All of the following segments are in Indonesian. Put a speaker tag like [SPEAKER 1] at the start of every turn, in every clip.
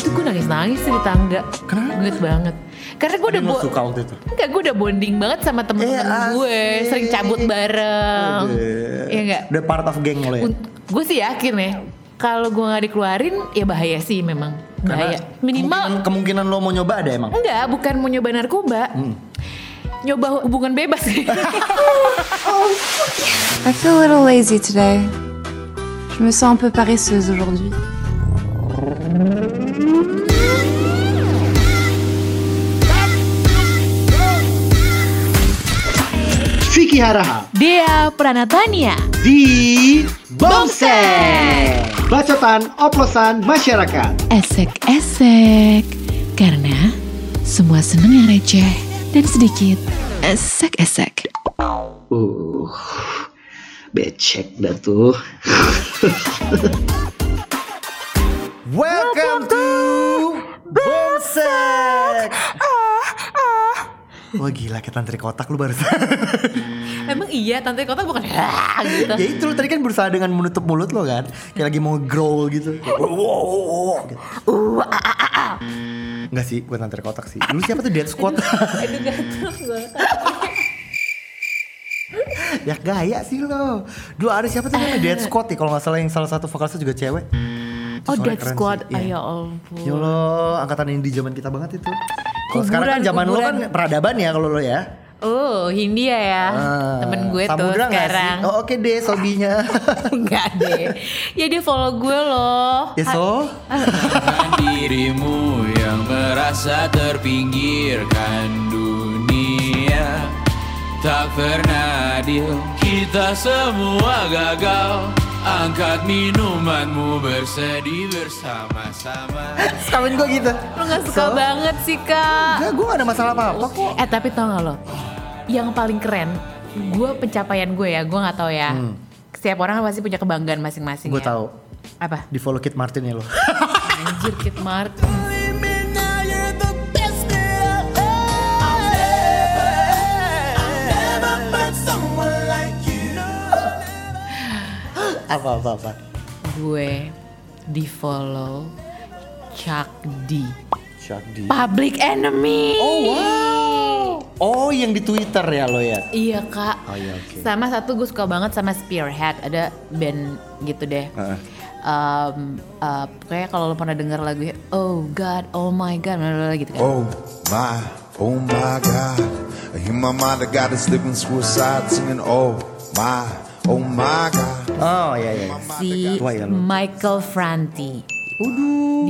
[SPEAKER 1] nangis-nangis sih di tangga.
[SPEAKER 2] Kenapa?
[SPEAKER 1] Gue banget. Karena gue udah
[SPEAKER 2] Emang
[SPEAKER 1] bo-
[SPEAKER 2] suka waktu itu.
[SPEAKER 1] Enggak, gue udah bonding banget sama temen-temen
[SPEAKER 2] Eh,
[SPEAKER 1] gue,
[SPEAKER 2] asik.
[SPEAKER 1] sering cabut bareng.
[SPEAKER 2] Udah.
[SPEAKER 1] Iya Nah, enggak?
[SPEAKER 2] Udah part of geng lo ya.
[SPEAKER 1] Gue sih yakin ya, kalau gue nggak dikeluarin ya bahaya sih memang. Bahaya. iya. Minimal Mm.
[SPEAKER 2] kemungkinan, kemungkinan lo mau nyoba ada emang.
[SPEAKER 1] enggak, bukan mau nyoba narkoba.
[SPEAKER 2] Hmm.
[SPEAKER 1] Nyoba hubungan bebas.
[SPEAKER 3] I feel a little lazy today. Je me sens un peu paresseuse aujourd'hui.
[SPEAKER 2] Vicky Haraha
[SPEAKER 1] Dia Pranatania.
[SPEAKER 2] di
[SPEAKER 1] Bongseng.
[SPEAKER 2] Bacotan oplosan masyarakat.
[SPEAKER 1] Esek-esek. Karena semua seneng yang receh dan sedikit esek-esek.
[SPEAKER 4] Uh, becek dah tuh.
[SPEAKER 2] Welcome to Bongsek.
[SPEAKER 1] Ah,
[SPEAKER 2] Wah gila kayak tantri kotak lu barusan
[SPEAKER 1] Emang iya, Tante Kota bukan gitu.
[SPEAKER 2] Ya itu lu tadi kan berusaha dengan menutup mulut lo kan Kayak lagi mau growl gitu
[SPEAKER 1] Oh,
[SPEAKER 2] Uh, ah, Enggak sih, bukan tantri kotak sih Lu siapa tuh Dead Squad?
[SPEAKER 1] Aduh gatel gue.
[SPEAKER 2] ya gaya sih lo Dulu ada siapa tuh namanya Dead Squad ya Kalau gak salah yang salah satu vokalisnya juga cewek
[SPEAKER 1] Oh,
[SPEAKER 2] Suara
[SPEAKER 1] Dead
[SPEAKER 2] keren
[SPEAKER 1] Squad.
[SPEAKER 2] sih, iya.
[SPEAKER 1] Ayo ampun.
[SPEAKER 2] Ya Allah, angkatan ini di zaman kita banget itu Kalau sekarang kan
[SPEAKER 1] Kuburan,
[SPEAKER 2] zaman lo kan
[SPEAKER 1] kuburan.
[SPEAKER 2] peradaban ya kalau lo ya
[SPEAKER 1] Oh, Hindia ya.
[SPEAKER 2] Ah,
[SPEAKER 1] Temen gue tuh
[SPEAKER 2] Samudra nggak sih?
[SPEAKER 1] sekarang.
[SPEAKER 2] Oh, oke deh sobinya.
[SPEAKER 1] Enggak deh. Ya dia follow gue loh.
[SPEAKER 2] ya so.
[SPEAKER 5] dirimu yang merasa terpinggirkan dunia tak pernah adil kita semua gagal angkat minumanmu bersedih bersama-sama
[SPEAKER 2] Kawin gue gitu.
[SPEAKER 1] Lo gak suka
[SPEAKER 2] So?
[SPEAKER 1] banget sih kak.
[SPEAKER 2] Enggak, gue gak ada masalah apa-apa kok.
[SPEAKER 1] Eh tapi tau gak lo? Yang paling keren, gue pencapaian gue ya, gue gak tahu ya. Setiap orang pasti punya kebanggaan masing-masing
[SPEAKER 2] Gue
[SPEAKER 1] ya.
[SPEAKER 2] Hmm. tahu.
[SPEAKER 1] Apa?
[SPEAKER 2] Di follow Kit Martin ya lo.
[SPEAKER 1] Anjir Kit Martin.
[SPEAKER 2] Apa-apa-apa.
[SPEAKER 1] Gue di follow Chuck D.
[SPEAKER 2] Shark D.
[SPEAKER 1] Public Enemy.
[SPEAKER 2] Oh wow. Oh yang di Twitter ya lo ya.
[SPEAKER 1] Iya kak.
[SPEAKER 2] Oh, iya, oke.
[SPEAKER 1] Sama satu gue suka banget sama Spearhead. Ada band gitu deh.
[SPEAKER 2] Heeh.
[SPEAKER 1] Um, uh, pokoknya kalau lo pernah dengar lagu Oh God, Oh My God, blablabla gitu kan.
[SPEAKER 6] Oh my, oh my God. I hear my mother got us living suicide singing, oh my, oh my God.
[SPEAKER 2] Oh
[SPEAKER 1] iya,
[SPEAKER 2] ya ya.
[SPEAKER 1] Si
[SPEAKER 2] Tua ya lo.
[SPEAKER 1] Michael Franti.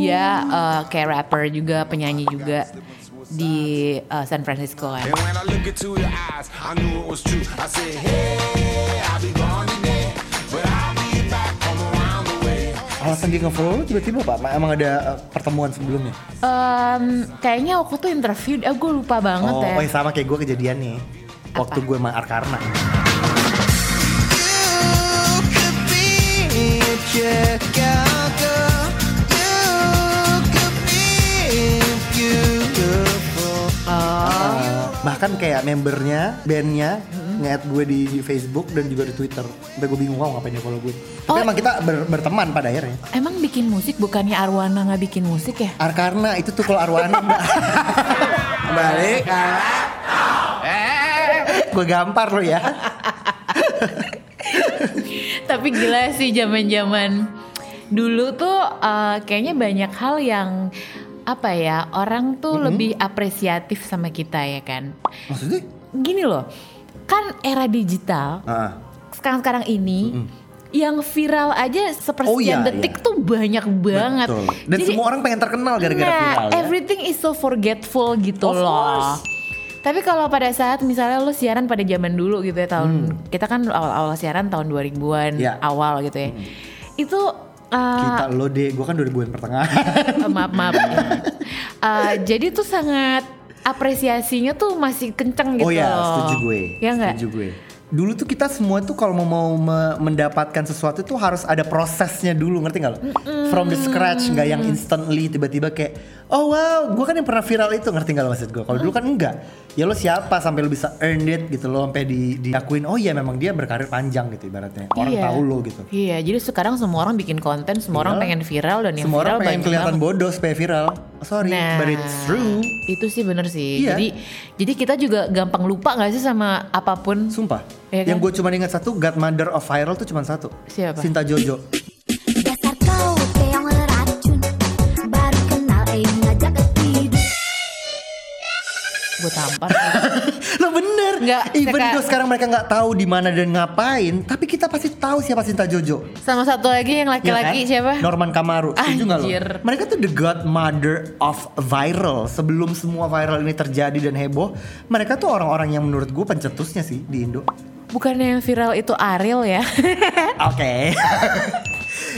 [SPEAKER 1] Dia uh, kayak rapper juga, penyanyi juga di uh, San Francisco kan.
[SPEAKER 6] And when I look into your eyes, I knew it was true. I said, hey, I'll be gone today, but I'll be back, come around the way.
[SPEAKER 2] Alasan dia nge-follow lo tiba-tiba pak? Emang ada eh, pertemuan sebelumnya?
[SPEAKER 1] Um, kayaknya waktu tuh interview, ah gue lupa banget
[SPEAKER 2] Oh,
[SPEAKER 1] ya.
[SPEAKER 2] oh, sama kayak gue kejadian nih. Waktu gue sama Arkarna.
[SPEAKER 1] Oh.
[SPEAKER 2] bahkan kayak membernya, bandnya nge-add gue di Facebook dan juga di Twitter. Sampai gue bingung wow ngapain dia follow gue.
[SPEAKER 1] Oh.
[SPEAKER 2] Tapi emang kita ber- berteman pada akhirnya.
[SPEAKER 1] Emang bikin musik bukannya Arwana nggak bikin musik ya?
[SPEAKER 2] Arkarna itu tuh kalau Arwana mbak. Balik. Eh, gue gampar lo ya.
[SPEAKER 1] Tapi gila sih zaman-zaman dulu tuh eh, kayaknya banyak hal yang apa ya orang tuh lebih apresiatif sama kita ya kan.
[SPEAKER 2] Maksudnya?
[SPEAKER 1] Gini loh, kan era digital
[SPEAKER 2] Ah.
[SPEAKER 1] sekarang-sekarang ini yang viral aja sepersekian
[SPEAKER 2] Oh iya,
[SPEAKER 1] detik
[SPEAKER 2] iya.
[SPEAKER 1] tuh banyak banget.
[SPEAKER 2] Betul. Dan
[SPEAKER 1] Jadi-
[SPEAKER 2] semua orang pengen terkenal gara-gara
[SPEAKER 1] Nah,
[SPEAKER 2] viral. ya.
[SPEAKER 1] everything is so forgetful gitu
[SPEAKER 2] Of
[SPEAKER 1] loh.
[SPEAKER 2] course.
[SPEAKER 1] Tapi kalau pada saat misalnya lu siaran pada zaman dulu gitu ya tahun
[SPEAKER 2] Hmm.
[SPEAKER 1] kita kan awal-awal siaran tahun 2000-an
[SPEAKER 2] Iya.
[SPEAKER 1] awal gitu ya. Itu uh,
[SPEAKER 2] Kita lo deh, gue kan 2000-an pertengahan.
[SPEAKER 1] eh, maaf maaf. Eh, jadi tuh sangat apresiasinya tuh masih kenceng gitu
[SPEAKER 2] oh ya,
[SPEAKER 1] loh.
[SPEAKER 2] setuju gue.
[SPEAKER 1] Ya enggak?
[SPEAKER 2] Setuju gue. Dulu tuh kita semua tuh kalau mau mau me- mendapatkan sesuatu tuh harus ada prosesnya dulu, ngerti nggak lo? From the scratch, nggak yang instantly tiba-tiba kayak oh wow gue kan yang pernah viral itu ngerti nggak lo maksud gue kalau dulu kan enggak ya lo siapa sampai lo bisa earn it gitu lo sampai di diakuin oh iya memang dia berkarir panjang gitu ibaratnya orang
[SPEAKER 1] Iya.
[SPEAKER 2] tahu lo gitu
[SPEAKER 1] Iya, jadi sekarang semua orang bikin konten, semua orang
[SPEAKER 2] Iyalah.
[SPEAKER 1] pengen viral dan yang
[SPEAKER 2] Iya. semua
[SPEAKER 1] viral
[SPEAKER 2] orang pengen
[SPEAKER 1] banyak
[SPEAKER 2] kelihatan
[SPEAKER 1] banget. Nah.
[SPEAKER 2] bodoh supaya viral sorry but it's true
[SPEAKER 1] Itu sih bener sih.
[SPEAKER 2] Iya.
[SPEAKER 1] Jadi jadi kita juga gampang lupa gak sih sama apapun.
[SPEAKER 2] Sumpah.
[SPEAKER 1] Iya kan?
[SPEAKER 2] Yang gue cuma ingat satu, Godmother of Viral tuh cuma satu.
[SPEAKER 1] Siapa?
[SPEAKER 2] Sinta Jojo.
[SPEAKER 7] Dasar kau keong racun Baru kenal eh ngajak ke tidur
[SPEAKER 1] Gue tampar.
[SPEAKER 2] Lo bener.
[SPEAKER 1] Nggak,
[SPEAKER 2] Even
[SPEAKER 1] Seka-
[SPEAKER 2] though sekarang mereka nggak tahu di mana dan ngapain, tapi kita pasti tahu siapa Sinta Jojo.
[SPEAKER 1] sama satu lagi yang
[SPEAKER 2] Iya kan?
[SPEAKER 1] laki-laki siapa?
[SPEAKER 2] Norman Kamaru. Setuju nggak lo?
[SPEAKER 1] Anjir.
[SPEAKER 2] Mereka tuh the Godmother of Viral. Sebelum semua viral ini terjadi dan heboh, mereka tuh orang-orang yang menurut gue pencetusnya sih di Indo.
[SPEAKER 1] Bukannya yang viral itu Ariel ya?
[SPEAKER 2] Oke.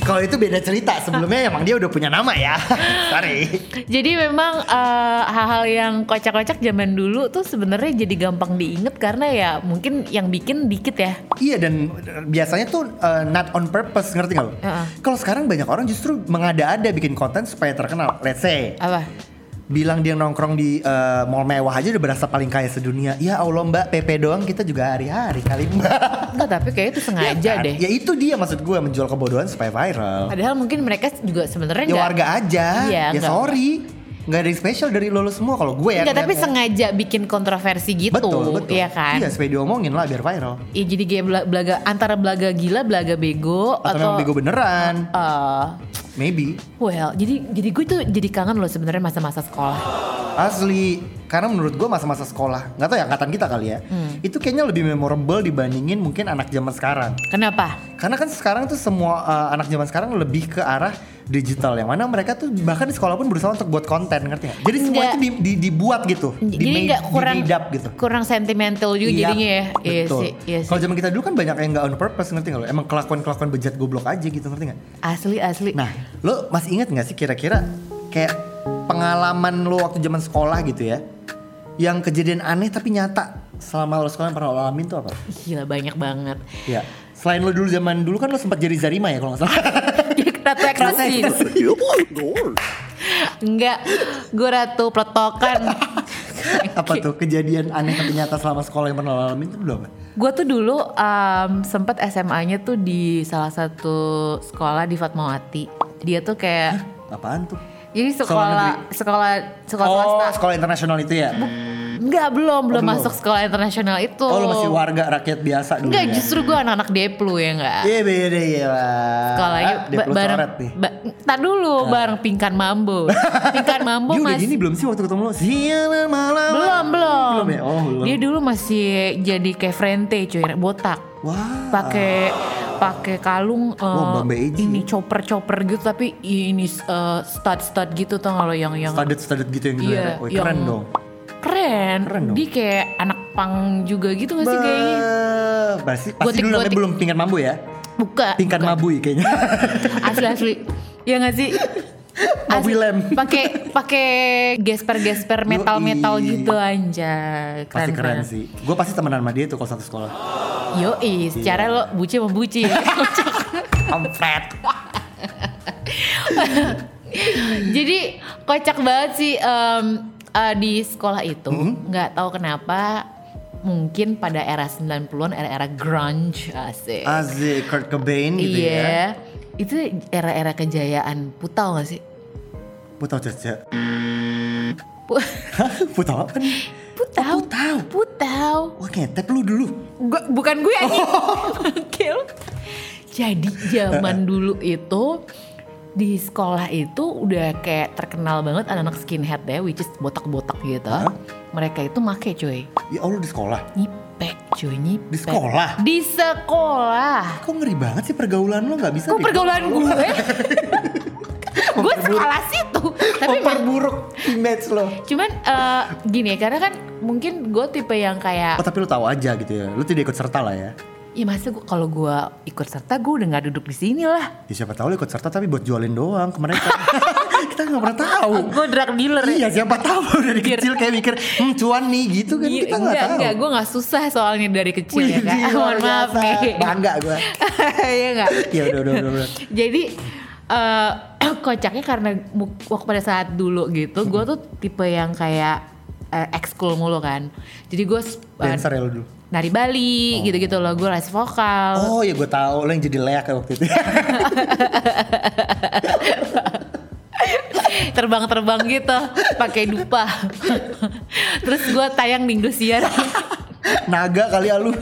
[SPEAKER 2] Kalau itu beda cerita. Sebelumnya emang dia udah punya nama ya. Sorry.
[SPEAKER 1] jadi memang eh, hal-hal yang kocak-kocak zaman dulu tuh sebenarnya jadi gampang diinget karena ya mungkin yang bikin dikit ya.
[SPEAKER 2] Iya dan biasanya tuh uh, not on purpose ngerti gak lo?
[SPEAKER 1] Heeh.
[SPEAKER 2] Kalau sekarang banyak orang justru mengada-ada bikin konten supaya terkenal. Let's say
[SPEAKER 1] Apa?
[SPEAKER 2] bilang dia nongkrong di uh, mall mewah aja udah berasa paling kaya sedunia. Ya Allah Mbak, PP doang kita juga hari-hari kali Mbak.
[SPEAKER 1] Enggak, tapi kayak itu sengaja
[SPEAKER 2] Ya kan?
[SPEAKER 1] Iya deh.
[SPEAKER 2] Ya itu dia maksud gue menjual kebodohan supaya viral.
[SPEAKER 1] Padahal mungkin mereka juga sebenarnya
[SPEAKER 2] Ya
[SPEAKER 1] nggak-
[SPEAKER 2] warga aja.
[SPEAKER 1] Iya,
[SPEAKER 2] ya
[SPEAKER 1] nggak-
[SPEAKER 2] sorry. Nggak ada yang spesial dari lo, lo semua kalau gue ya.
[SPEAKER 1] Enggak, Iya, tapi
[SPEAKER 2] ngeliatnya.
[SPEAKER 1] sengaja bikin kontroversi gitu,
[SPEAKER 2] Betul, betul.
[SPEAKER 1] ya kan?
[SPEAKER 2] Iya, supaya diomongin lah biar viral.
[SPEAKER 1] Iya, jadi kayak bela- belaga antara belaga gila, belaga bego
[SPEAKER 2] Atau, memang bego beneran.
[SPEAKER 1] Eh,
[SPEAKER 2] Maybe.
[SPEAKER 1] well, jadi jadi gue tuh jadi kangen loh sebenarnya masa-masa sekolah.
[SPEAKER 2] Asli, karena menurut gue masa-masa sekolah, nggak tahu ya angkatan kita kali ya,
[SPEAKER 1] Hmm.
[SPEAKER 2] itu kayaknya lebih memorable dibandingin mungkin anak zaman sekarang.
[SPEAKER 1] Kenapa?
[SPEAKER 2] Karena kan sekarang tuh semua uh, anak zaman sekarang lebih ke arah digital yang mana mereka tuh bahkan di sekolah pun berusaha untuk buat konten ngerti nggak? Jadi semua
[SPEAKER 1] Nggak.
[SPEAKER 2] itu di- di- dibuat gitu, di
[SPEAKER 1] jadi
[SPEAKER 2] made-
[SPEAKER 1] nggak
[SPEAKER 2] di
[SPEAKER 1] kurang
[SPEAKER 2] made up gitu.
[SPEAKER 1] kurang sentimental juga jadinya ya.
[SPEAKER 2] Iya,
[SPEAKER 1] Iya
[SPEAKER 2] betul.
[SPEAKER 1] sih, iya sih.
[SPEAKER 2] Kalau zaman kita dulu kan banyak yang nggak on purpose ngerti nggak lo? Emang kelakuan kelakuan bejat goblok aja gitu ngerti nggak?
[SPEAKER 1] Asli asli.
[SPEAKER 2] Nah, lo masih ingat nggak sih kira-kira kayak pengalaman lo waktu zaman sekolah gitu ya? Yang kejadian aneh tapi nyata selama lo sekolah yang pernah lo alamin tuh apa?
[SPEAKER 1] Gila banyak banget.
[SPEAKER 2] Iya. Selain lo dulu zaman dulu kan lo sempat jadi Zarima ya kalau nggak salah.
[SPEAKER 1] Ratu ekstasi. Enggak, gue ratu peletokan.
[SPEAKER 2] apa tuh kejadian aneh tapi nyata selama sekolah yang pernah lo alamin tuh dulu apa?
[SPEAKER 1] Gue tuh dulu em, sempet SMA-nya tuh di salah satu sekolah di Fatmawati. Dia tuh kayak
[SPEAKER 2] Apaan tuh?
[SPEAKER 1] jadi sekolah sekolah sekolah
[SPEAKER 2] Oh,
[SPEAKER 1] swasta.
[SPEAKER 2] sekolah internasional itu ya?
[SPEAKER 1] Enggak, belum, belum
[SPEAKER 2] Oh, belum.
[SPEAKER 1] masuk sekolah internasional itu.
[SPEAKER 2] Oh, lo masih warga rakyat biasa dulu
[SPEAKER 1] Enggak,
[SPEAKER 2] ya?
[SPEAKER 1] justru gue anak-anak Deplu ya enggak.
[SPEAKER 2] Iya, beda ya lah.
[SPEAKER 1] Sekolahnya
[SPEAKER 2] Dia
[SPEAKER 1] ba-
[SPEAKER 2] perlu
[SPEAKER 1] bareng
[SPEAKER 2] coret nih. Ah.
[SPEAKER 1] ba- Ntar dulu, bareng Pingkan Mambo. Pingkan Mambo
[SPEAKER 2] Dia udah
[SPEAKER 1] masih
[SPEAKER 2] gini belum sih waktu ketemu lo? Sialan malam.
[SPEAKER 1] belum, belum.
[SPEAKER 2] Belum ya? Oh, belum.
[SPEAKER 1] Dia dulu masih jadi kayak frente cuy, botak.
[SPEAKER 2] Wah.
[SPEAKER 1] Pakai pakai kalung eh,
[SPEAKER 2] Wah, Mbak Eji.
[SPEAKER 1] ini choper-choper gitu tapi ini eh, stud-stud gitu tau gak lo yang yang
[SPEAKER 2] Studded studded gitu yang di
[SPEAKER 1] Iya,
[SPEAKER 2] leher. Woi,
[SPEAKER 1] yang-
[SPEAKER 2] keren dong.
[SPEAKER 1] keren.
[SPEAKER 2] Keren dong.
[SPEAKER 1] Dia kayak anak pang juga gitu gak sih kayaknya?
[SPEAKER 2] Bah, pasti pasti dulu namanya
[SPEAKER 1] Gotik-gotik.
[SPEAKER 2] belum pingkan mambu ya.
[SPEAKER 1] Buka.
[SPEAKER 2] Pingkan
[SPEAKER 1] buka.
[SPEAKER 2] mabui kayaknya.
[SPEAKER 1] asli asli ya nggak sih Asli.
[SPEAKER 2] Mobil lem.
[SPEAKER 1] pakai pakai gesper gesper metal metal
[SPEAKER 2] Yoi.
[SPEAKER 1] gitu anjay
[SPEAKER 2] pasti
[SPEAKER 1] keren
[SPEAKER 2] keren
[SPEAKER 1] banget.
[SPEAKER 2] sih. Iya. Gue pasti temenan sama dia tuh kalau satu sekolah.
[SPEAKER 1] yoi secara lo buci sama buci ya?
[SPEAKER 2] Kampret.
[SPEAKER 1] jadi kocak banget sih em, eh, di sekolah itu
[SPEAKER 2] Hmm?
[SPEAKER 1] nggak tahu kenapa mungkin pada era 90-an era-era grunge asik
[SPEAKER 2] Asik Kurt Cobain Ah, gitu ya.
[SPEAKER 1] iya itu era-era kejayaan putau gak sih
[SPEAKER 2] Oh, Putau caca.
[SPEAKER 1] Pu-
[SPEAKER 2] Putau apa nih?
[SPEAKER 1] putau
[SPEAKER 2] Putau.
[SPEAKER 1] putau
[SPEAKER 2] Wah ngetep lu dulu.
[SPEAKER 1] Gua, bukan gue anjing.
[SPEAKER 2] Oh.
[SPEAKER 1] Gokil. Jadi zaman dulu itu di sekolah itu udah kayak terkenal banget anak-anak skinhead ya, which is botak-botak gitu. Mereka itu make cuy,
[SPEAKER 2] Ya Allah di sekolah.
[SPEAKER 1] nyipek cuy nyipek.
[SPEAKER 2] Di sekolah?
[SPEAKER 1] Di sekolah.
[SPEAKER 2] Kok ngeri banget sih pergaulan lo nggak bisa.
[SPEAKER 1] Kok
[SPEAKER 2] deh.
[SPEAKER 1] pergaulan gue? gue
[SPEAKER 2] Memperburuk-
[SPEAKER 1] sekolah situ, tapi emang-
[SPEAKER 2] memperburuk image lo.
[SPEAKER 1] cuman eh, gini ya, karena kan mungkin gue tipe yang kayak
[SPEAKER 2] Oh tapi lo tahu aja gitu ya. Lo tidak ikut serta lah ya.
[SPEAKER 1] Ya masa gua- kalau gue ikut serta gue udah gak duduk di sini lah.
[SPEAKER 2] Ya siapa tahu lo ikut serta tapi buat jualin doang ke mereka. Kita nggak pernah tahu.
[SPEAKER 1] Gue drug dealer ya.
[SPEAKER 2] Iya siapa tahu dari kecil kayak mikir hmm, cuan nih gitu kan
[SPEAKER 1] Iya,
[SPEAKER 2] kita nggak
[SPEAKER 1] enggak,
[SPEAKER 2] tahu.
[SPEAKER 1] enggak, gue gak susah soalnya dari kecil ya
[SPEAKER 2] Wih,
[SPEAKER 1] kak.
[SPEAKER 2] luar
[SPEAKER 1] Mohon maaf
[SPEAKER 2] biasa.
[SPEAKER 1] nih.
[SPEAKER 2] Bangga gue.
[SPEAKER 1] Iya gak?
[SPEAKER 2] Ya udah udah udah. udah.
[SPEAKER 1] Jadi eh, kocaknya karena mu- waktu pada saat dulu gitu, gue tuh tipe yang kayak eh, ekskul mulu kan. Jadi gue
[SPEAKER 2] Dancer ya lo dulu.
[SPEAKER 1] nari Bali gitu-gitu loh, gue les vokal.
[SPEAKER 2] Oh ya gue tahu lo yang jadi leak ya waktu itu.
[SPEAKER 1] terbang-terbang gitu pakai dupa terus gue tayang di Indosiar
[SPEAKER 2] Naga kali ya lu.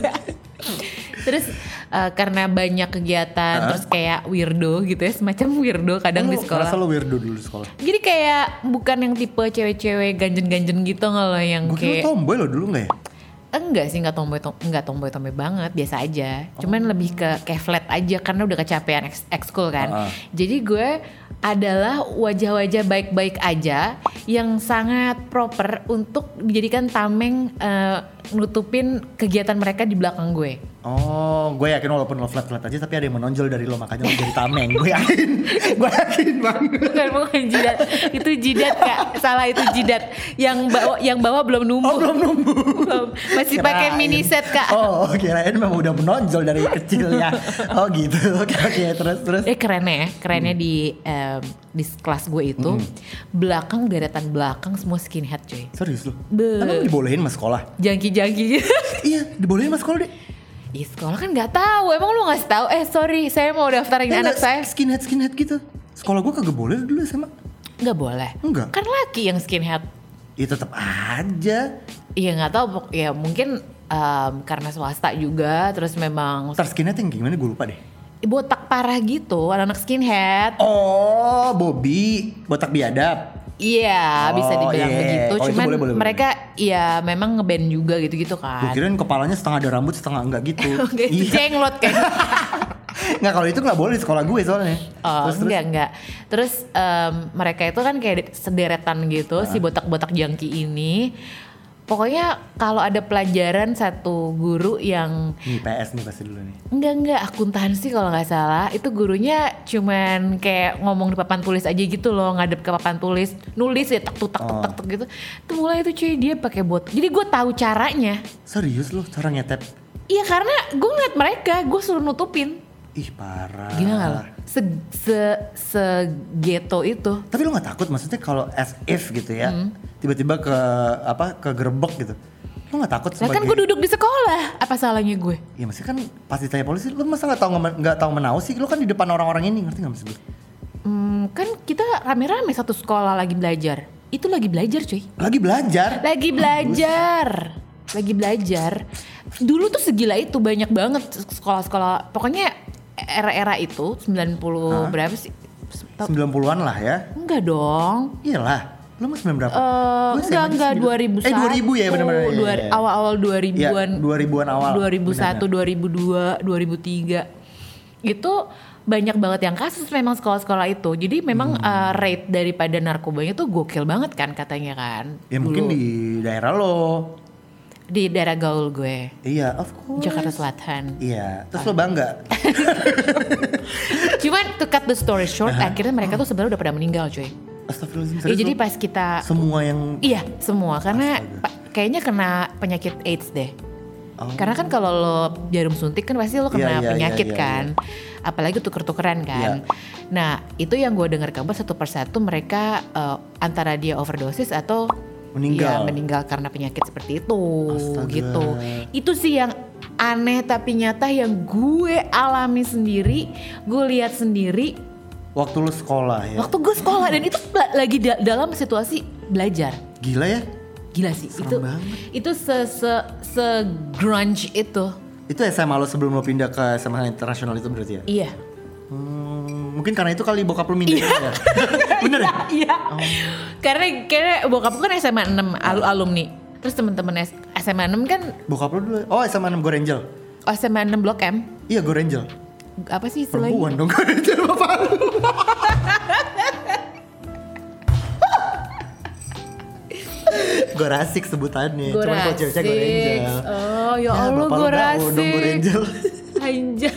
[SPEAKER 1] terus eh, karena banyak kegiatan terus kayak weirdo gitu ya semacam weirdo kadang di
[SPEAKER 2] Oh, Lu Ngerasa
[SPEAKER 1] sekolah
[SPEAKER 2] lo weirdo dulu di sekolah.
[SPEAKER 1] jadi kayak bukan yang tipe cewek-cewek ganjen-ganjen gitu nggak loh yang
[SPEAKER 2] Gue kira
[SPEAKER 1] kayak
[SPEAKER 2] lu tomboy lo dulu nggak ya?
[SPEAKER 1] enggak sih nggak tomboy tom, nggak tomboy tomboy banget biasa aja cuman
[SPEAKER 2] Oh.
[SPEAKER 1] lebih ke kayak flat aja karena udah kecapean ex- ekskul kan
[SPEAKER 2] Ah.
[SPEAKER 1] jadi gue adalah wajah-wajah baik-baik aja yang sangat proper untuk dijadikan tameng eh, nutupin kegiatan mereka di belakang gue
[SPEAKER 2] Oh, gue yakin walaupun lo flat flat aja tapi ada yang menonjol dari lo makanya lo jadi tameng. Gue yakin, gue yakin banget.
[SPEAKER 1] bukan bukan jidat itu jidat kak salah itu jidat yang bawa yang bawa belum numbuh
[SPEAKER 2] Oh belum numbuh.
[SPEAKER 1] Belum. masih pakai
[SPEAKER 2] Kirain.
[SPEAKER 1] mini set kak
[SPEAKER 2] Oh kirain memang udah menonjol dari kecil ya. Oh gitu. Oke oke terus terus.
[SPEAKER 1] Eh kerennya ya, kerennya di em, di kelas gue itu
[SPEAKER 2] Hmm.
[SPEAKER 1] belakang deretan belakang semua skinhead cuy.
[SPEAKER 2] Serius lu?
[SPEAKER 1] Be-
[SPEAKER 2] Emang dibolehin mas sekolah?
[SPEAKER 1] Jangki-jangki. gitu.
[SPEAKER 2] iya, dibolehin mas sekolah deh.
[SPEAKER 1] Ih sekolah kan nggak tahu. Emang lu nggak tahu? Eh sorry, saya mau daftarin
[SPEAKER 2] Iya
[SPEAKER 1] anak
[SPEAKER 2] nggak?
[SPEAKER 1] saya.
[SPEAKER 2] Skinhead skinhead gitu. Sekolah gue kagak boleh dulu sama.
[SPEAKER 1] Nggak boleh.
[SPEAKER 2] Nggak.
[SPEAKER 1] Kan laki yang skinhead.
[SPEAKER 2] Ya tetap aja.
[SPEAKER 1] Iya nggak tahu. pok- Ya mungkin em, karena swasta juga. Terus memang
[SPEAKER 2] Ntar skinhead yang gimana gue lupa deh.
[SPEAKER 1] botak parah gitu. Anak-anak skinhead.
[SPEAKER 2] Oh, Bobby, botak biadab.
[SPEAKER 1] Iya
[SPEAKER 2] Oh,
[SPEAKER 1] bisa dibilang
[SPEAKER 2] iya.
[SPEAKER 1] begitu.
[SPEAKER 2] Oh, itu
[SPEAKER 1] Cuman
[SPEAKER 2] boleh, boleh, boleh.
[SPEAKER 1] mereka ya memang ngeband juga gitu-gitu
[SPEAKER 2] Gue
[SPEAKER 1] kan.
[SPEAKER 2] kirain kepalanya setengah ada rambut, setengah enggak gitu.
[SPEAKER 1] Oke,
[SPEAKER 2] Iya.
[SPEAKER 1] jenglot kayak gitu.
[SPEAKER 2] Nggak kalau itu nggak boleh di sekolah gue soalnya.
[SPEAKER 1] Oh
[SPEAKER 2] Terus, terus.
[SPEAKER 1] enggak enggak. Terus em, mereka itu kan kayak sederetan gitu si botak-botak jangki ini. Pokoknya kalau ada pelajaran satu guru yang
[SPEAKER 2] Nih PS nih pasti dulu nih.
[SPEAKER 1] enggak enggak akuntansi kalau nggak salah itu gurunya cuman kayak ngomong di papan tulis aja gitu loh ngadep ke papan tulis nulis ya tak tuk tak tuk,
[SPEAKER 2] Oh.
[SPEAKER 1] tak tuk gitu. Itu mulai itu cuy dia pakai bot. Jadi gue tahu caranya.
[SPEAKER 2] Serius lu cara ngetep?
[SPEAKER 1] Iya karena gue ngeliat mereka gue suruh nutupin.
[SPEAKER 2] Ih parah.
[SPEAKER 1] Gila nggak loh? Se se se ghetto itu.
[SPEAKER 2] Tapi lu nggak takut maksudnya kalau as if gitu ya,
[SPEAKER 1] Hmm.
[SPEAKER 2] tiba-tiba ke apa ke gerbek gitu, lu nggak takut
[SPEAKER 1] Lah
[SPEAKER 2] sebagai?
[SPEAKER 1] kan gue duduk di sekolah, apa salahnya gue?
[SPEAKER 2] Ya maksudnya kan pas ditanya polisi, lu masa nggak tahu ngemen- nggak tahu menau sih? Lu kan di depan orang-orang ini ngerti nggak maksud gue?
[SPEAKER 1] Hmm, kan kita rame-rame satu sekolah lagi belajar. Itu lagi belajar cuy.
[SPEAKER 2] Lagi belajar.
[SPEAKER 1] Lagi belajar. Lagi belajar. Dulu tuh segila itu banyak banget sekolah-sekolah. Pokoknya era-era itu 90 berapa sih? Tau-
[SPEAKER 2] 90-an lah ya.
[SPEAKER 1] Enggak dong.
[SPEAKER 2] Iyalah, lu masih sembilan berapa?
[SPEAKER 1] Eh,
[SPEAKER 2] Gue
[SPEAKER 1] enggak
[SPEAKER 2] SMA
[SPEAKER 1] enggak
[SPEAKER 2] sembilan-
[SPEAKER 1] 2001.
[SPEAKER 2] Eh 2000 ya benar-benar. Iya,
[SPEAKER 1] Oh, Dua-
[SPEAKER 2] iya, iya.
[SPEAKER 1] Awal-awal 2000-an.
[SPEAKER 2] Iya, 2000-an awal.
[SPEAKER 1] 2001, 2002, 2003. Itu banyak banget yang kasus memang sekolah-sekolah itu. Jadi memang
[SPEAKER 2] Hmm.
[SPEAKER 1] eh, rate daripada narkobanya tuh gokil banget kan katanya kan.
[SPEAKER 2] Ya mungkin
[SPEAKER 1] dulu.
[SPEAKER 2] di daerah lo.
[SPEAKER 1] di daerah gaul gue,
[SPEAKER 2] Iya, of course.
[SPEAKER 1] Jakarta Selatan.
[SPEAKER 2] Iya, terus lo bangga.
[SPEAKER 1] Cuman to cut the story short, akhirnya mereka tuh sebenarnya udah pada meninggal, cuy.
[SPEAKER 2] Astagfirullahaladzim.
[SPEAKER 1] Ya,
[SPEAKER 2] Uh-huh. serius
[SPEAKER 1] jadi
[SPEAKER 2] lo?
[SPEAKER 1] pas kita
[SPEAKER 2] semua yang
[SPEAKER 1] Iya semua karena
[SPEAKER 2] Astaga.
[SPEAKER 1] pa- kayaknya kena penyakit AIDS deh.
[SPEAKER 2] Oh.
[SPEAKER 1] Karena kan kalau lo jarum suntik kan pasti lo kena
[SPEAKER 2] Iya, iya,
[SPEAKER 1] penyakit
[SPEAKER 2] iya, iya,
[SPEAKER 1] kan, apalagi tuker-tukeran kan. Nah itu yang gue dengar kabar satu persatu mereka eh, antara dia overdosis atau ya,
[SPEAKER 2] Meninggal.
[SPEAKER 1] meninggal karena penyakit seperti itu
[SPEAKER 2] Astaga.
[SPEAKER 1] gitu. Itu sih yang aneh tapi nyata yang gue alami sendiri, gue lihat sendiri
[SPEAKER 2] waktu lo sekolah ya.
[SPEAKER 1] waktu gue sekolah dan itu la- lagi da- dalam situasi belajar.
[SPEAKER 2] Gila ya.
[SPEAKER 1] Gila sih
[SPEAKER 2] Serem
[SPEAKER 1] itu
[SPEAKER 2] banget.
[SPEAKER 1] itu se se se grunge itu.
[SPEAKER 2] Itu SMA lo sebelum lo pindah ke SMA internasional itu berarti ya?
[SPEAKER 1] Iya.
[SPEAKER 2] Hmm, mungkin karena itu kali bokap lo mindahin ya. Bener ya?
[SPEAKER 1] Iya. Karena karena bokap gue kan SMA 6 alu alumni. Terus teman-teman S- SMA 6 kan
[SPEAKER 2] Bokap lo dulu. Oh, SMA 6 Gorenjel.
[SPEAKER 1] oh, SMA 6 Blok M.
[SPEAKER 2] Iya, Gorenjel.
[SPEAKER 1] Apa sih istilahnya?
[SPEAKER 2] Perempuan dong Gorenjel bapak lu. Gorasik sebutannya. Cuman kalau cewek Gorenjel.
[SPEAKER 1] Oh, ya
[SPEAKER 2] Ya,
[SPEAKER 1] Allah
[SPEAKER 2] bapak lu nggak mau dong
[SPEAKER 1] gorasik.
[SPEAKER 2] Gorenjel.
[SPEAKER 1] Anjay.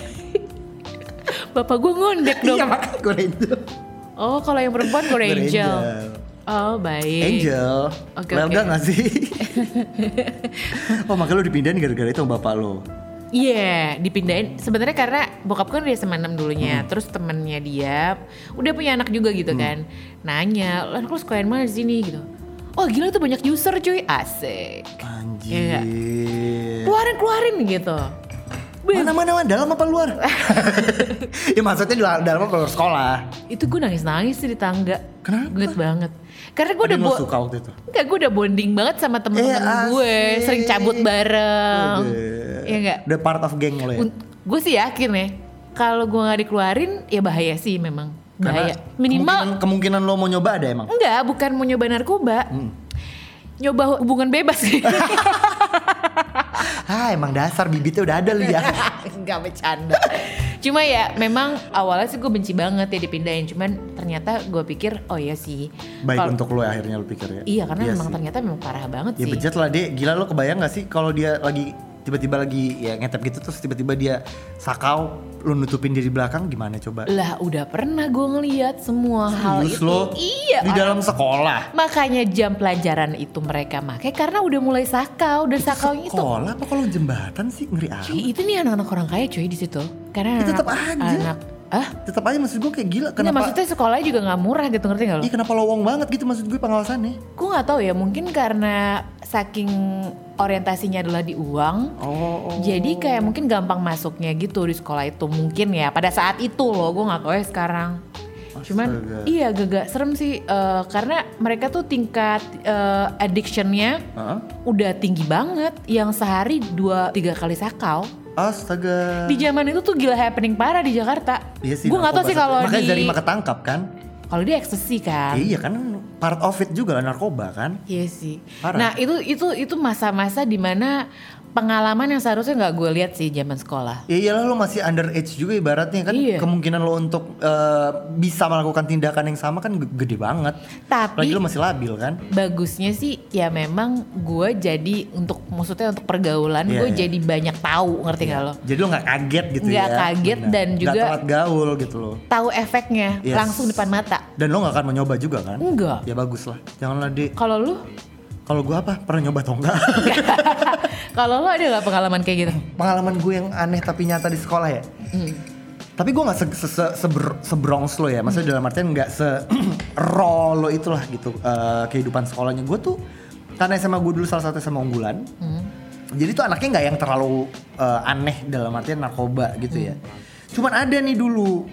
[SPEAKER 1] Bapak gue ngondek dong.
[SPEAKER 2] Iya, makanya Gorenjel.
[SPEAKER 1] Oh, kalau yang perempuan
[SPEAKER 2] Gorengel.
[SPEAKER 1] gorengel. Oh, baik.
[SPEAKER 2] Angel,
[SPEAKER 1] Oke,
[SPEAKER 2] Welda
[SPEAKER 1] oke.
[SPEAKER 2] gak sih? oh makanya lu dipindahin gara-gara itu sama bapak lo
[SPEAKER 1] Iya, dipindahin. Sebenarnya karena bokap kan udah SMA 6 dulunya,
[SPEAKER 2] Hmm.
[SPEAKER 1] terus temennya dia udah punya anak juga gitu kan. Nanya, "Lah, anak lu sekolah yang mana di sini?" gitu. Oh gila itu banyak user cuy, asik. Iya
[SPEAKER 2] Anjir.
[SPEAKER 1] Keluarin keluarin gitu. Bel,
[SPEAKER 2] Mana mana mana dalam apa luar? ya maksudnya di luar- dalam apa luar sekolah?
[SPEAKER 1] itu gue nangis nangis di tangga.
[SPEAKER 2] Kenapa?
[SPEAKER 1] Gue banget. Karena gue udah
[SPEAKER 2] Ada yang lo
[SPEAKER 1] bo-
[SPEAKER 2] suka waktu itu.
[SPEAKER 1] Enggak, gue udah bonding banget sama temen-temen
[SPEAKER 2] Eh, asik.
[SPEAKER 1] gue, sering cabut bareng. Eh, Iya enggak?
[SPEAKER 2] The part of geng lo ya.
[SPEAKER 1] Gue sih yakin ya, kalau gue nggak dikeluarin ya bahaya sih memang. Bahaya. iya. Minimal
[SPEAKER 2] kemungkinan, kemungkinan lo mau nyoba ada emang.
[SPEAKER 1] enggak, bukan mau nyoba narkoba.
[SPEAKER 2] Hmm.
[SPEAKER 1] Nyoba hubungan bebas sih.
[SPEAKER 2] Ah emang dasar bibitnya udah ada lu ya.
[SPEAKER 1] Enggak bercanda. Cuma ya memang awalnya sih gue benci banget ya dipindahin. Cuman ternyata gue pikir oh ya sih.
[SPEAKER 2] Baik
[SPEAKER 1] Kalau-
[SPEAKER 2] untuk lo ya, akhirnya lo pikir ya.
[SPEAKER 1] Iya karena memang
[SPEAKER 2] sih.
[SPEAKER 1] ternyata memang parah banget
[SPEAKER 2] Ya
[SPEAKER 1] sih.
[SPEAKER 2] bejat lah deh. Gila lo kebayang gak sih kalau dia lagi tiba-tiba lagi ya ngetep gitu terus tiba-tiba dia sakau lo nutupin diri belakang gimana coba?
[SPEAKER 1] Lah udah pernah gue ngeliat semua hal
[SPEAKER 2] Serius
[SPEAKER 1] itu.
[SPEAKER 2] lo?
[SPEAKER 1] Iya.
[SPEAKER 2] Di
[SPEAKER 1] orang-
[SPEAKER 2] dalam sekolah.
[SPEAKER 1] Makanya jam pelajaran itu mereka make karena udah mulai sakau dan sakaunya itu.
[SPEAKER 2] Sekolah apa kalau jembatan sih ngeri amat.
[SPEAKER 1] Cuy, itu nih anak-anak orang kaya cuy di situ. Karena
[SPEAKER 2] Ya,
[SPEAKER 1] anak,
[SPEAKER 2] tetep aja.
[SPEAKER 1] anak ah,
[SPEAKER 2] Tetap aja maksud gue kayak gila
[SPEAKER 1] Nggak,
[SPEAKER 2] kenapa?
[SPEAKER 1] Iya, maksudnya sekolahnya juga nggak murah gitu ngerti nggak lo?
[SPEAKER 2] Iya kenapa lowong banget gitu maksud gue pengawasannya.
[SPEAKER 1] Gue nggak tahu ya mungkin karena saking orientasinya adalah di uang.
[SPEAKER 2] Oh.
[SPEAKER 1] Jadi kayak mungkin gampang masuknya gitu di sekolah itu mungkin ya pada saat itu loh gue nggak tahu ya sekarang. Cuman
[SPEAKER 2] Astaga.
[SPEAKER 1] iya gagak serem sih eh, karena mereka tuh tingkat eh, addictionnya
[SPEAKER 2] Heeh.
[SPEAKER 1] udah tinggi banget yang sehari dua tiga kali sakau.
[SPEAKER 2] Astaga.
[SPEAKER 1] Di zaman itu tuh gila happening parah di Jakarta. gue nggak tahu
[SPEAKER 2] Iya narkoba
[SPEAKER 1] sih kalau
[SPEAKER 2] satu- Makanya
[SPEAKER 1] di
[SPEAKER 2] Zarima ketangkap kan?
[SPEAKER 1] kalau di ekstasi kan.
[SPEAKER 2] Ya iya kan part of it juga lah narkoba kan?
[SPEAKER 1] Iya sih.
[SPEAKER 2] Parah.
[SPEAKER 1] Nah itu itu itu masa-masa dimana pengalaman yang seharusnya nggak gue lihat sih zaman sekolah.
[SPEAKER 2] Ya iyalah lo masih underage juga ibaratnya kan
[SPEAKER 1] Iya.
[SPEAKER 2] kemungkinan lo untuk eh, bisa melakukan tindakan yang sama kan g- gede banget.
[SPEAKER 1] Tapi-
[SPEAKER 2] Apalagi lo masih labil kan?
[SPEAKER 1] Bagusnya sih ya memang gue jadi untuk maksudnya untuk pergaulan
[SPEAKER 2] Iya,
[SPEAKER 1] gue
[SPEAKER 2] iya.
[SPEAKER 1] jadi banyak tahu ngerti nggak lo?
[SPEAKER 2] Jadi lo nggak kaget gitu ya?
[SPEAKER 1] Nggak kaget dan
[SPEAKER 2] Nggak
[SPEAKER 1] juga-
[SPEAKER 2] telat gaul gitu lo.
[SPEAKER 1] Tahu efeknya
[SPEAKER 2] Yes.
[SPEAKER 1] langsung depan mata.
[SPEAKER 2] Dan lo nggak akan mencoba juga kan?
[SPEAKER 1] Enggak.
[SPEAKER 2] Ya bagus lah. Janganlah deh.
[SPEAKER 1] Kalau lu,
[SPEAKER 2] Kalau gue apa? Pernah nyoba atau enggak?
[SPEAKER 1] kalau lu ada nggak pengalaman kayak gitu?
[SPEAKER 2] Pengalaman gue yang aneh tapi nyata di sekolah ya. Tapi gue gak se, se, se, seber- sebrongs lo ya Maksudnya dalam artian gak se raw lo itulah gitu eh, Kehidupan sekolahnya Gue tuh Karena SMA gue dulu salah satu SMA unggulan Jadi tuh anaknya gak yang terlalu eh, aneh Dalam artian narkoba gitu ya Cuman ada nih dulu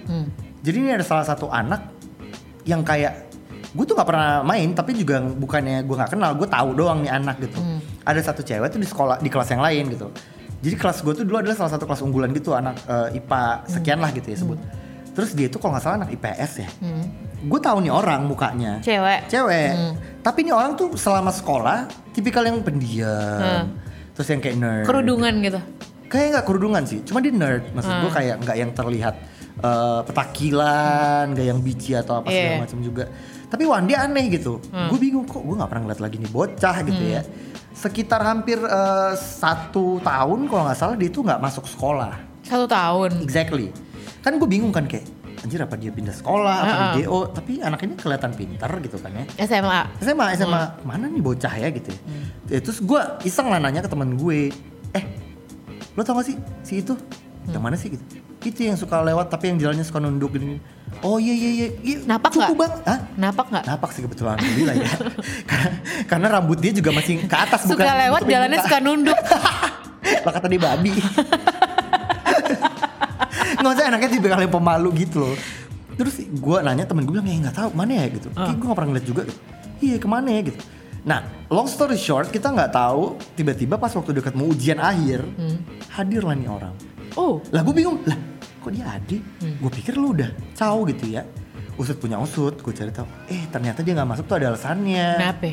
[SPEAKER 2] Jadi ini ada salah satu anak Yang kayak Gue tuh gak pernah main Tapi juga bukannya gue gak kenal Gue tahu doang nih anak gitu Ada satu cewek tuh di sekolah Di kelas yang lain gitu Jadi kelas gue tuh dulu adalah salah satu kelas unggulan gitu Anak eh, IPA sekian lah gitu ya sebut Terus dia tuh kalau gak salah anak IPS ya Gue tahu nih orang mukanya
[SPEAKER 1] Cewek.
[SPEAKER 2] cewek. Tapi ini orang tuh selama sekolah tipikal yang pendiam. Terus yang kayak nerd.
[SPEAKER 1] Kerudungan gitu.
[SPEAKER 2] Kayak nggak kerudungan sih, cuma dia nerd. Maksud gua kayak nggak yang terlihat eh, petakilan, nggak yang bici atau apa segala
[SPEAKER 1] Iya.
[SPEAKER 2] macam juga. Tapi Wan dia aneh gitu. Gue bingung kok gue nggak pernah ngeliat lagi nih bocah gitu ya. Sekitar hampir eh, satu tahun kalau nggak salah dia tuh nggak masuk sekolah.
[SPEAKER 1] Satu tahun.
[SPEAKER 2] Exactly. Kan gue bingung kan kayak anjir apa dia pindah sekolah apa di DO tapi anak ini kelihatan pintar gitu kan ya.
[SPEAKER 1] SMA.
[SPEAKER 2] SMA SMA mana nih bocah ya gitu. ya.
[SPEAKER 1] Hmm.
[SPEAKER 2] Ya, terus gue iseng lah nanya ke teman gue, eh lo tau gak sih si itu
[SPEAKER 1] Hmm.
[SPEAKER 2] yang mana sih gitu? Itu yang suka lewat tapi yang jalannya suka nunduk gini. Oh iya iya iya. iya,
[SPEAKER 1] Napak
[SPEAKER 2] cukup
[SPEAKER 1] nggak?
[SPEAKER 2] bang? Hah?
[SPEAKER 1] Napak nggak?
[SPEAKER 2] Napak sih kebetulan Alhamdulillah ya. karena, karena rambut dia juga masih ke atas bukan.
[SPEAKER 1] Suka lewat
[SPEAKER 2] nutupin
[SPEAKER 1] jalannya
[SPEAKER 2] muka.
[SPEAKER 1] suka nunduk.
[SPEAKER 2] Lah kata dia babi. Nggak usah anaknya tipe kali yang pemalu gitu loh. Terus gue nanya temen gue bilang ya nggak tahu mana ya gitu.
[SPEAKER 1] Ah.
[SPEAKER 2] Kayak gue nggak pernah ngeliat juga. gitu. Iya kemana ya gitu. Nah long story short kita nggak tahu tiba-tiba pas waktu dekat mau ujian akhir
[SPEAKER 1] Hmm.
[SPEAKER 2] hadirlah nih orang.
[SPEAKER 1] Oh,
[SPEAKER 2] Lah gue bingung lah kok dia adik?
[SPEAKER 1] Hmm.
[SPEAKER 2] Gue pikir lu udah caw gitu ya. Usut punya usut, gue cari tahu. Eh ternyata dia nggak masuk tuh ada alasannya.
[SPEAKER 1] kenapa?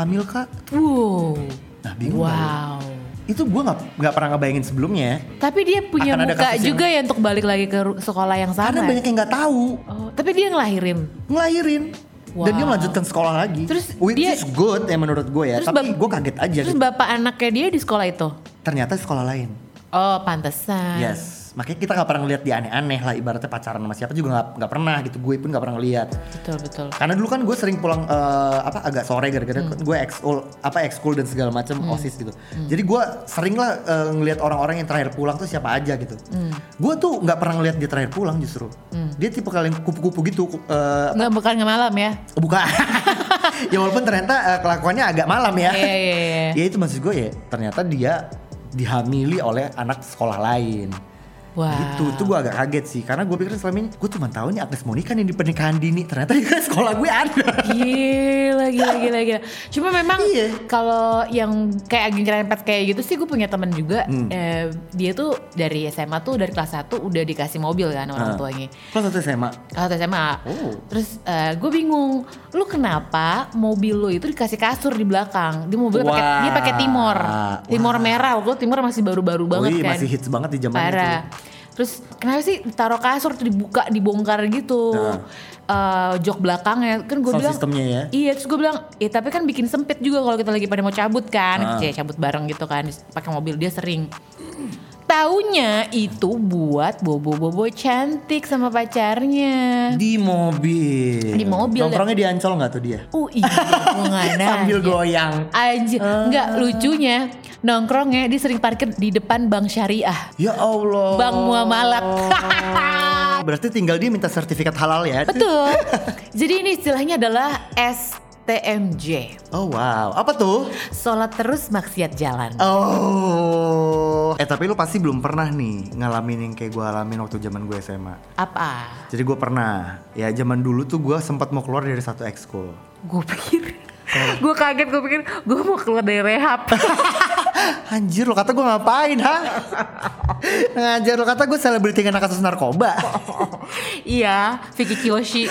[SPEAKER 2] Hamil kak?
[SPEAKER 1] Wow.
[SPEAKER 2] Nah bingung. kali.
[SPEAKER 1] Wow.
[SPEAKER 2] Itu gue nggak nggak pernah ngebayangin sebelumnya.
[SPEAKER 1] Tapi dia punya
[SPEAKER 2] Akan ada
[SPEAKER 1] muka
[SPEAKER 2] kasus yang-
[SPEAKER 1] juga ya untuk balik lagi ke ru- sekolah yang sama.
[SPEAKER 2] Karena
[SPEAKER 1] ya?
[SPEAKER 2] banyak yang nggak tahu
[SPEAKER 1] Oh, tapi dia ngelahirin.
[SPEAKER 2] ngelahirin dan dia
[SPEAKER 1] Wow.
[SPEAKER 2] melanjutkan sekolah lagi.
[SPEAKER 1] Terus
[SPEAKER 2] which
[SPEAKER 1] dia-
[SPEAKER 2] is good ya menurut gue ya.
[SPEAKER 1] Terus
[SPEAKER 2] Tapi
[SPEAKER 1] bap-
[SPEAKER 2] gue kaget aja.
[SPEAKER 1] Terus
[SPEAKER 2] gitu.
[SPEAKER 1] bapak anaknya dia di sekolah itu.
[SPEAKER 2] Ternyata sekolah lain.
[SPEAKER 1] Oh, pantesan.
[SPEAKER 2] Yes, makanya kita nggak pernah ngeliat dia aneh-aneh lah ibaratnya pacaran sama siapa juga nggak nggak pernah gitu gue pun nggak pernah ngeliat
[SPEAKER 1] betul betul
[SPEAKER 2] karena dulu kan gue sering pulang eh, apa agak sore gara-gara
[SPEAKER 1] Hmm.
[SPEAKER 2] gue ekskul apa ekskul dan segala macam osis gitu jadi gue sering lah eh, ngelihat orang-orang yang terakhir pulang tuh siapa aja gitu
[SPEAKER 1] Hmm.
[SPEAKER 2] gue tuh nggak pernah ngelihat dia terakhir pulang justru dia tipe kalian kupu-kupu gitu ku- eh,
[SPEAKER 1] nggak bukan nggak malam ya
[SPEAKER 2] buka ya walaupun ternyata eh, kelakuannya agak malam ya
[SPEAKER 1] Iya, iya, iya.
[SPEAKER 2] ya itu maksud gue ya ternyata dia dihamili oleh anak sekolah lain
[SPEAKER 1] Wow.
[SPEAKER 2] Gitu, itu gue agak kaget sih Karena gue pikir selama ini Gue cuma tahu nih Agnes Monica nih di pernikahan dini Ternyata di sekolah gue ada
[SPEAKER 1] Gila, gila, gila, gila. Cuma memang
[SPEAKER 2] Iya.
[SPEAKER 1] kalau yang kayak agen cerempet kayak gitu sih gue punya temen juga.
[SPEAKER 2] Hmm.
[SPEAKER 1] eh, dia tuh dari SMA tuh dari kelas 1 udah dikasih mobil kan orang
[SPEAKER 2] Ah.
[SPEAKER 1] tuanya.
[SPEAKER 2] Kelas satu SMA
[SPEAKER 1] Kelas SMA.
[SPEAKER 2] Oh.
[SPEAKER 1] Terus gue bingung, lu kenapa mobil lu itu dikasih kasur di belakang? Di mobil pakai
[SPEAKER 2] Wah.
[SPEAKER 1] dia pakai timor. Timor
[SPEAKER 2] Wah.
[SPEAKER 1] merah. Waktu itu timor masih baru-baru banget
[SPEAKER 2] Wih,
[SPEAKER 1] kan.
[SPEAKER 2] masih hits banget di zaman
[SPEAKER 1] Parah.
[SPEAKER 2] itu ya.
[SPEAKER 1] Terus kenapa sih taruh kasur tuh dibuka dibongkar gitu?
[SPEAKER 2] Nah.
[SPEAKER 1] Eh, jok belakangnya kan gue
[SPEAKER 2] Sound
[SPEAKER 1] bilang
[SPEAKER 2] systemnya ya.
[SPEAKER 1] iya terus gue bilang ya tapi kan bikin sempit juga kalau kita lagi pada mau cabut kan
[SPEAKER 2] Ah.
[SPEAKER 1] Kayak cabut bareng gitu kan pakai mobil dia sering taunya itu buat bobo-bobo cantik sama pacarnya
[SPEAKER 2] Di mobil
[SPEAKER 1] Di mobil.
[SPEAKER 2] Nongkrongnya di Ancol gak tuh dia?
[SPEAKER 1] Oh iya, gua nggak nanya.
[SPEAKER 2] Sambil Ah. goyang
[SPEAKER 1] Anjir, nggak lucunya nongkrongnya dia sering parkir di depan bank syariah,
[SPEAKER 2] Ya Allah
[SPEAKER 1] bank muamalat.
[SPEAKER 2] Berarti tinggal dia minta sertifikat halal ya
[SPEAKER 1] Betul. Jadi ini istilahnya adalah STMJ.
[SPEAKER 2] Oh wow Apa tuh?
[SPEAKER 1] Sholat terus maksiat jalan.
[SPEAKER 2] Oh. Eh tapi lu pasti belum pernah nih ngalamin yang kayak gue alamin waktu zaman gue SMA.
[SPEAKER 1] Apa?
[SPEAKER 2] Jadi gue pernah. Ya zaman dulu tuh gue sempat mau keluar dari satu ekskul.
[SPEAKER 1] Gue pikir. Gue kaget, gue pikir gue mau keluar dari rehab.
[SPEAKER 2] Anjir lo kata gue ngapain ha? Ngajar lo kata gue selebriti kena kasus narkoba.
[SPEAKER 1] iya, Vicky Kiyoshi.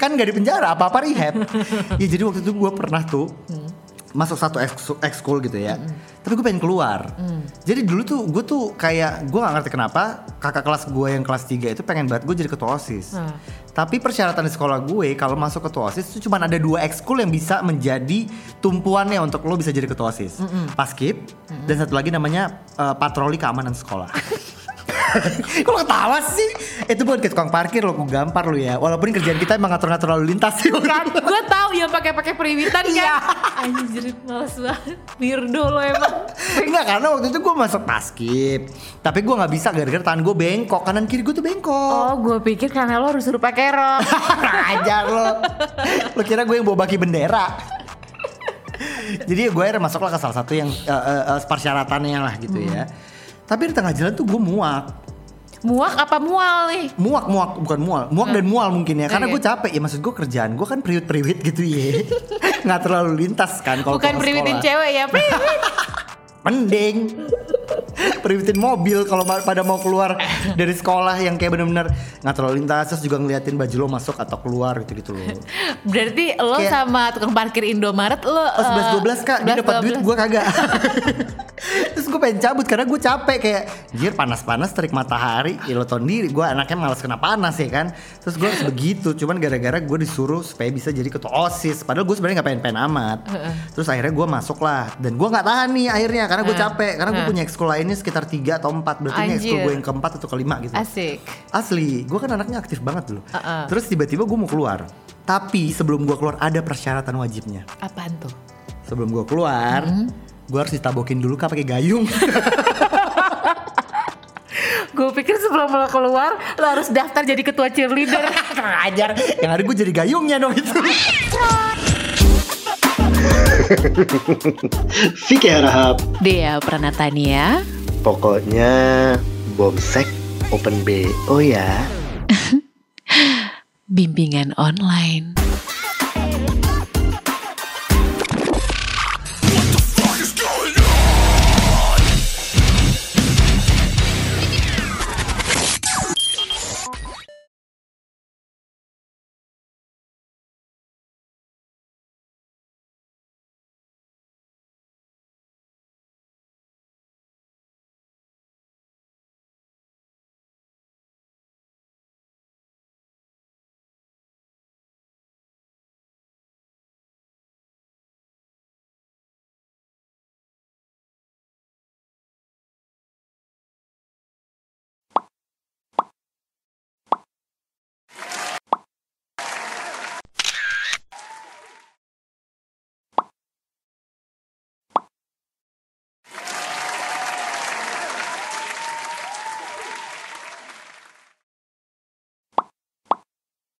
[SPEAKER 2] kan gak di penjara apa-apa rehab. ya jadi waktu itu gue pernah tuh masuk satu eks- ekskul gitu ya. Tapi gue pengen keluar. Jadi dulu tuh gue tuh kayak gue gak ngerti kenapa kakak kelas gue yang kelas 3 itu pengen banget gue jadi ketua OSIS.
[SPEAKER 1] Hmm.
[SPEAKER 2] Tapi persyaratan di sekolah gue kalau masuk ketua OSIS itu cuma ada dua ekskul yang bisa menjadi tumpuannya untuk lo bisa jadi ketua OSIS. Paskib dan satu lagi namanya eh, patroli keamanan sekolah. Kok lo ketawa sih? Eh, Itu bukan kayak tukang parkir lo, gue gampar lo ya. Walaupun kerjaan kita emang ngatur-ngatur lalu lintas sih.
[SPEAKER 1] kan gue tahu yang pakai-pakai periwitan kan. Anjir, males banget. Weirdo lo emang.
[SPEAKER 2] Enggak karena waktu itu gue masuk paskib. Tapi gue nggak bisa gara-gara tangan gue bengkok, kanan kiri gue tuh bengkok.
[SPEAKER 1] Oh, gue pikir karena lo harus suruh pakai rok.
[SPEAKER 2] Ajar lo. Lo kira gue yang bawa baki bendera. Jadi gue akhirnya masuklah ke salah satu yang eh, eh, eh, persyaratannya lah gitu ya. Tapi di tengah jalan tuh gue muak.
[SPEAKER 1] Muak apa mual nih?
[SPEAKER 2] muak muak bukan mual muak
[SPEAKER 1] Hmm.
[SPEAKER 2] dan mual mungkin ya karena
[SPEAKER 1] Oke.
[SPEAKER 2] gue capek ya maksud gue kerjaan gue kan priwit priwit gitu ya nggak terlalu lintas kan kalau
[SPEAKER 1] Bukan
[SPEAKER 2] pulang
[SPEAKER 1] periwitin
[SPEAKER 2] sekolah.
[SPEAKER 1] cewek ya, periwit.
[SPEAKER 2] mending priwitin mobil kalau ma- pada mau keluar dari sekolah yang kayak bener-bener nggak terlalu lintas terus juga ngeliatin baju lo masuk atau keluar gitu gitu loh
[SPEAKER 1] Berarti lo
[SPEAKER 2] Kayak-
[SPEAKER 1] sama tukang parkir Indomaret lo eh,
[SPEAKER 2] Iya. Oh 11 12 kak, dia dapat duit
[SPEAKER 1] 11-12.
[SPEAKER 2] gue kagak. Terus gue pengen cabut karena gue capek kayak Jir panas-panas terik matahari Ya lo tau diri gue anaknya malas kena panas ya kan Terus gue harus begitu Cuman gara-gara gue disuruh supaya bisa jadi ketua OSIS Padahal gue sebenarnya gak pengen-pengen amat Terus akhirnya gue masuk lah Dan gue gak tahan nih akhirnya karena gue
[SPEAKER 1] Heeh.
[SPEAKER 2] capek Karena gue
[SPEAKER 1] Heeh.
[SPEAKER 2] punya ekskul lainnya sekitar 3 atau 4 Berarti ini ekskul
[SPEAKER 1] Anjir.
[SPEAKER 2] gue yang keempat atau kelima gitu
[SPEAKER 1] Asik.
[SPEAKER 2] Asli, gue kan anaknya aktif banget dulu.
[SPEAKER 1] Uh-uh.
[SPEAKER 2] Terus tiba-tiba gue mau keluar. Tapi sebelum gue keluar ada persyaratan wajibnya.
[SPEAKER 1] Apaan tuh?
[SPEAKER 2] Sebelum gue keluar, gue harus ditabokin dulu kak pakai gayung.
[SPEAKER 1] Gue pikir sebelum lo keluar lo harus daftar jadi ketua cheerleader. Kurang ajar.
[SPEAKER 2] Yang ada gue jadi gayungnya dong itu.
[SPEAKER 8] Vicky Harahap
[SPEAKER 1] Dea Pranatania.
[SPEAKER 8] Pokoknya Bomsek Open B Oh ya
[SPEAKER 1] Bimbingan online.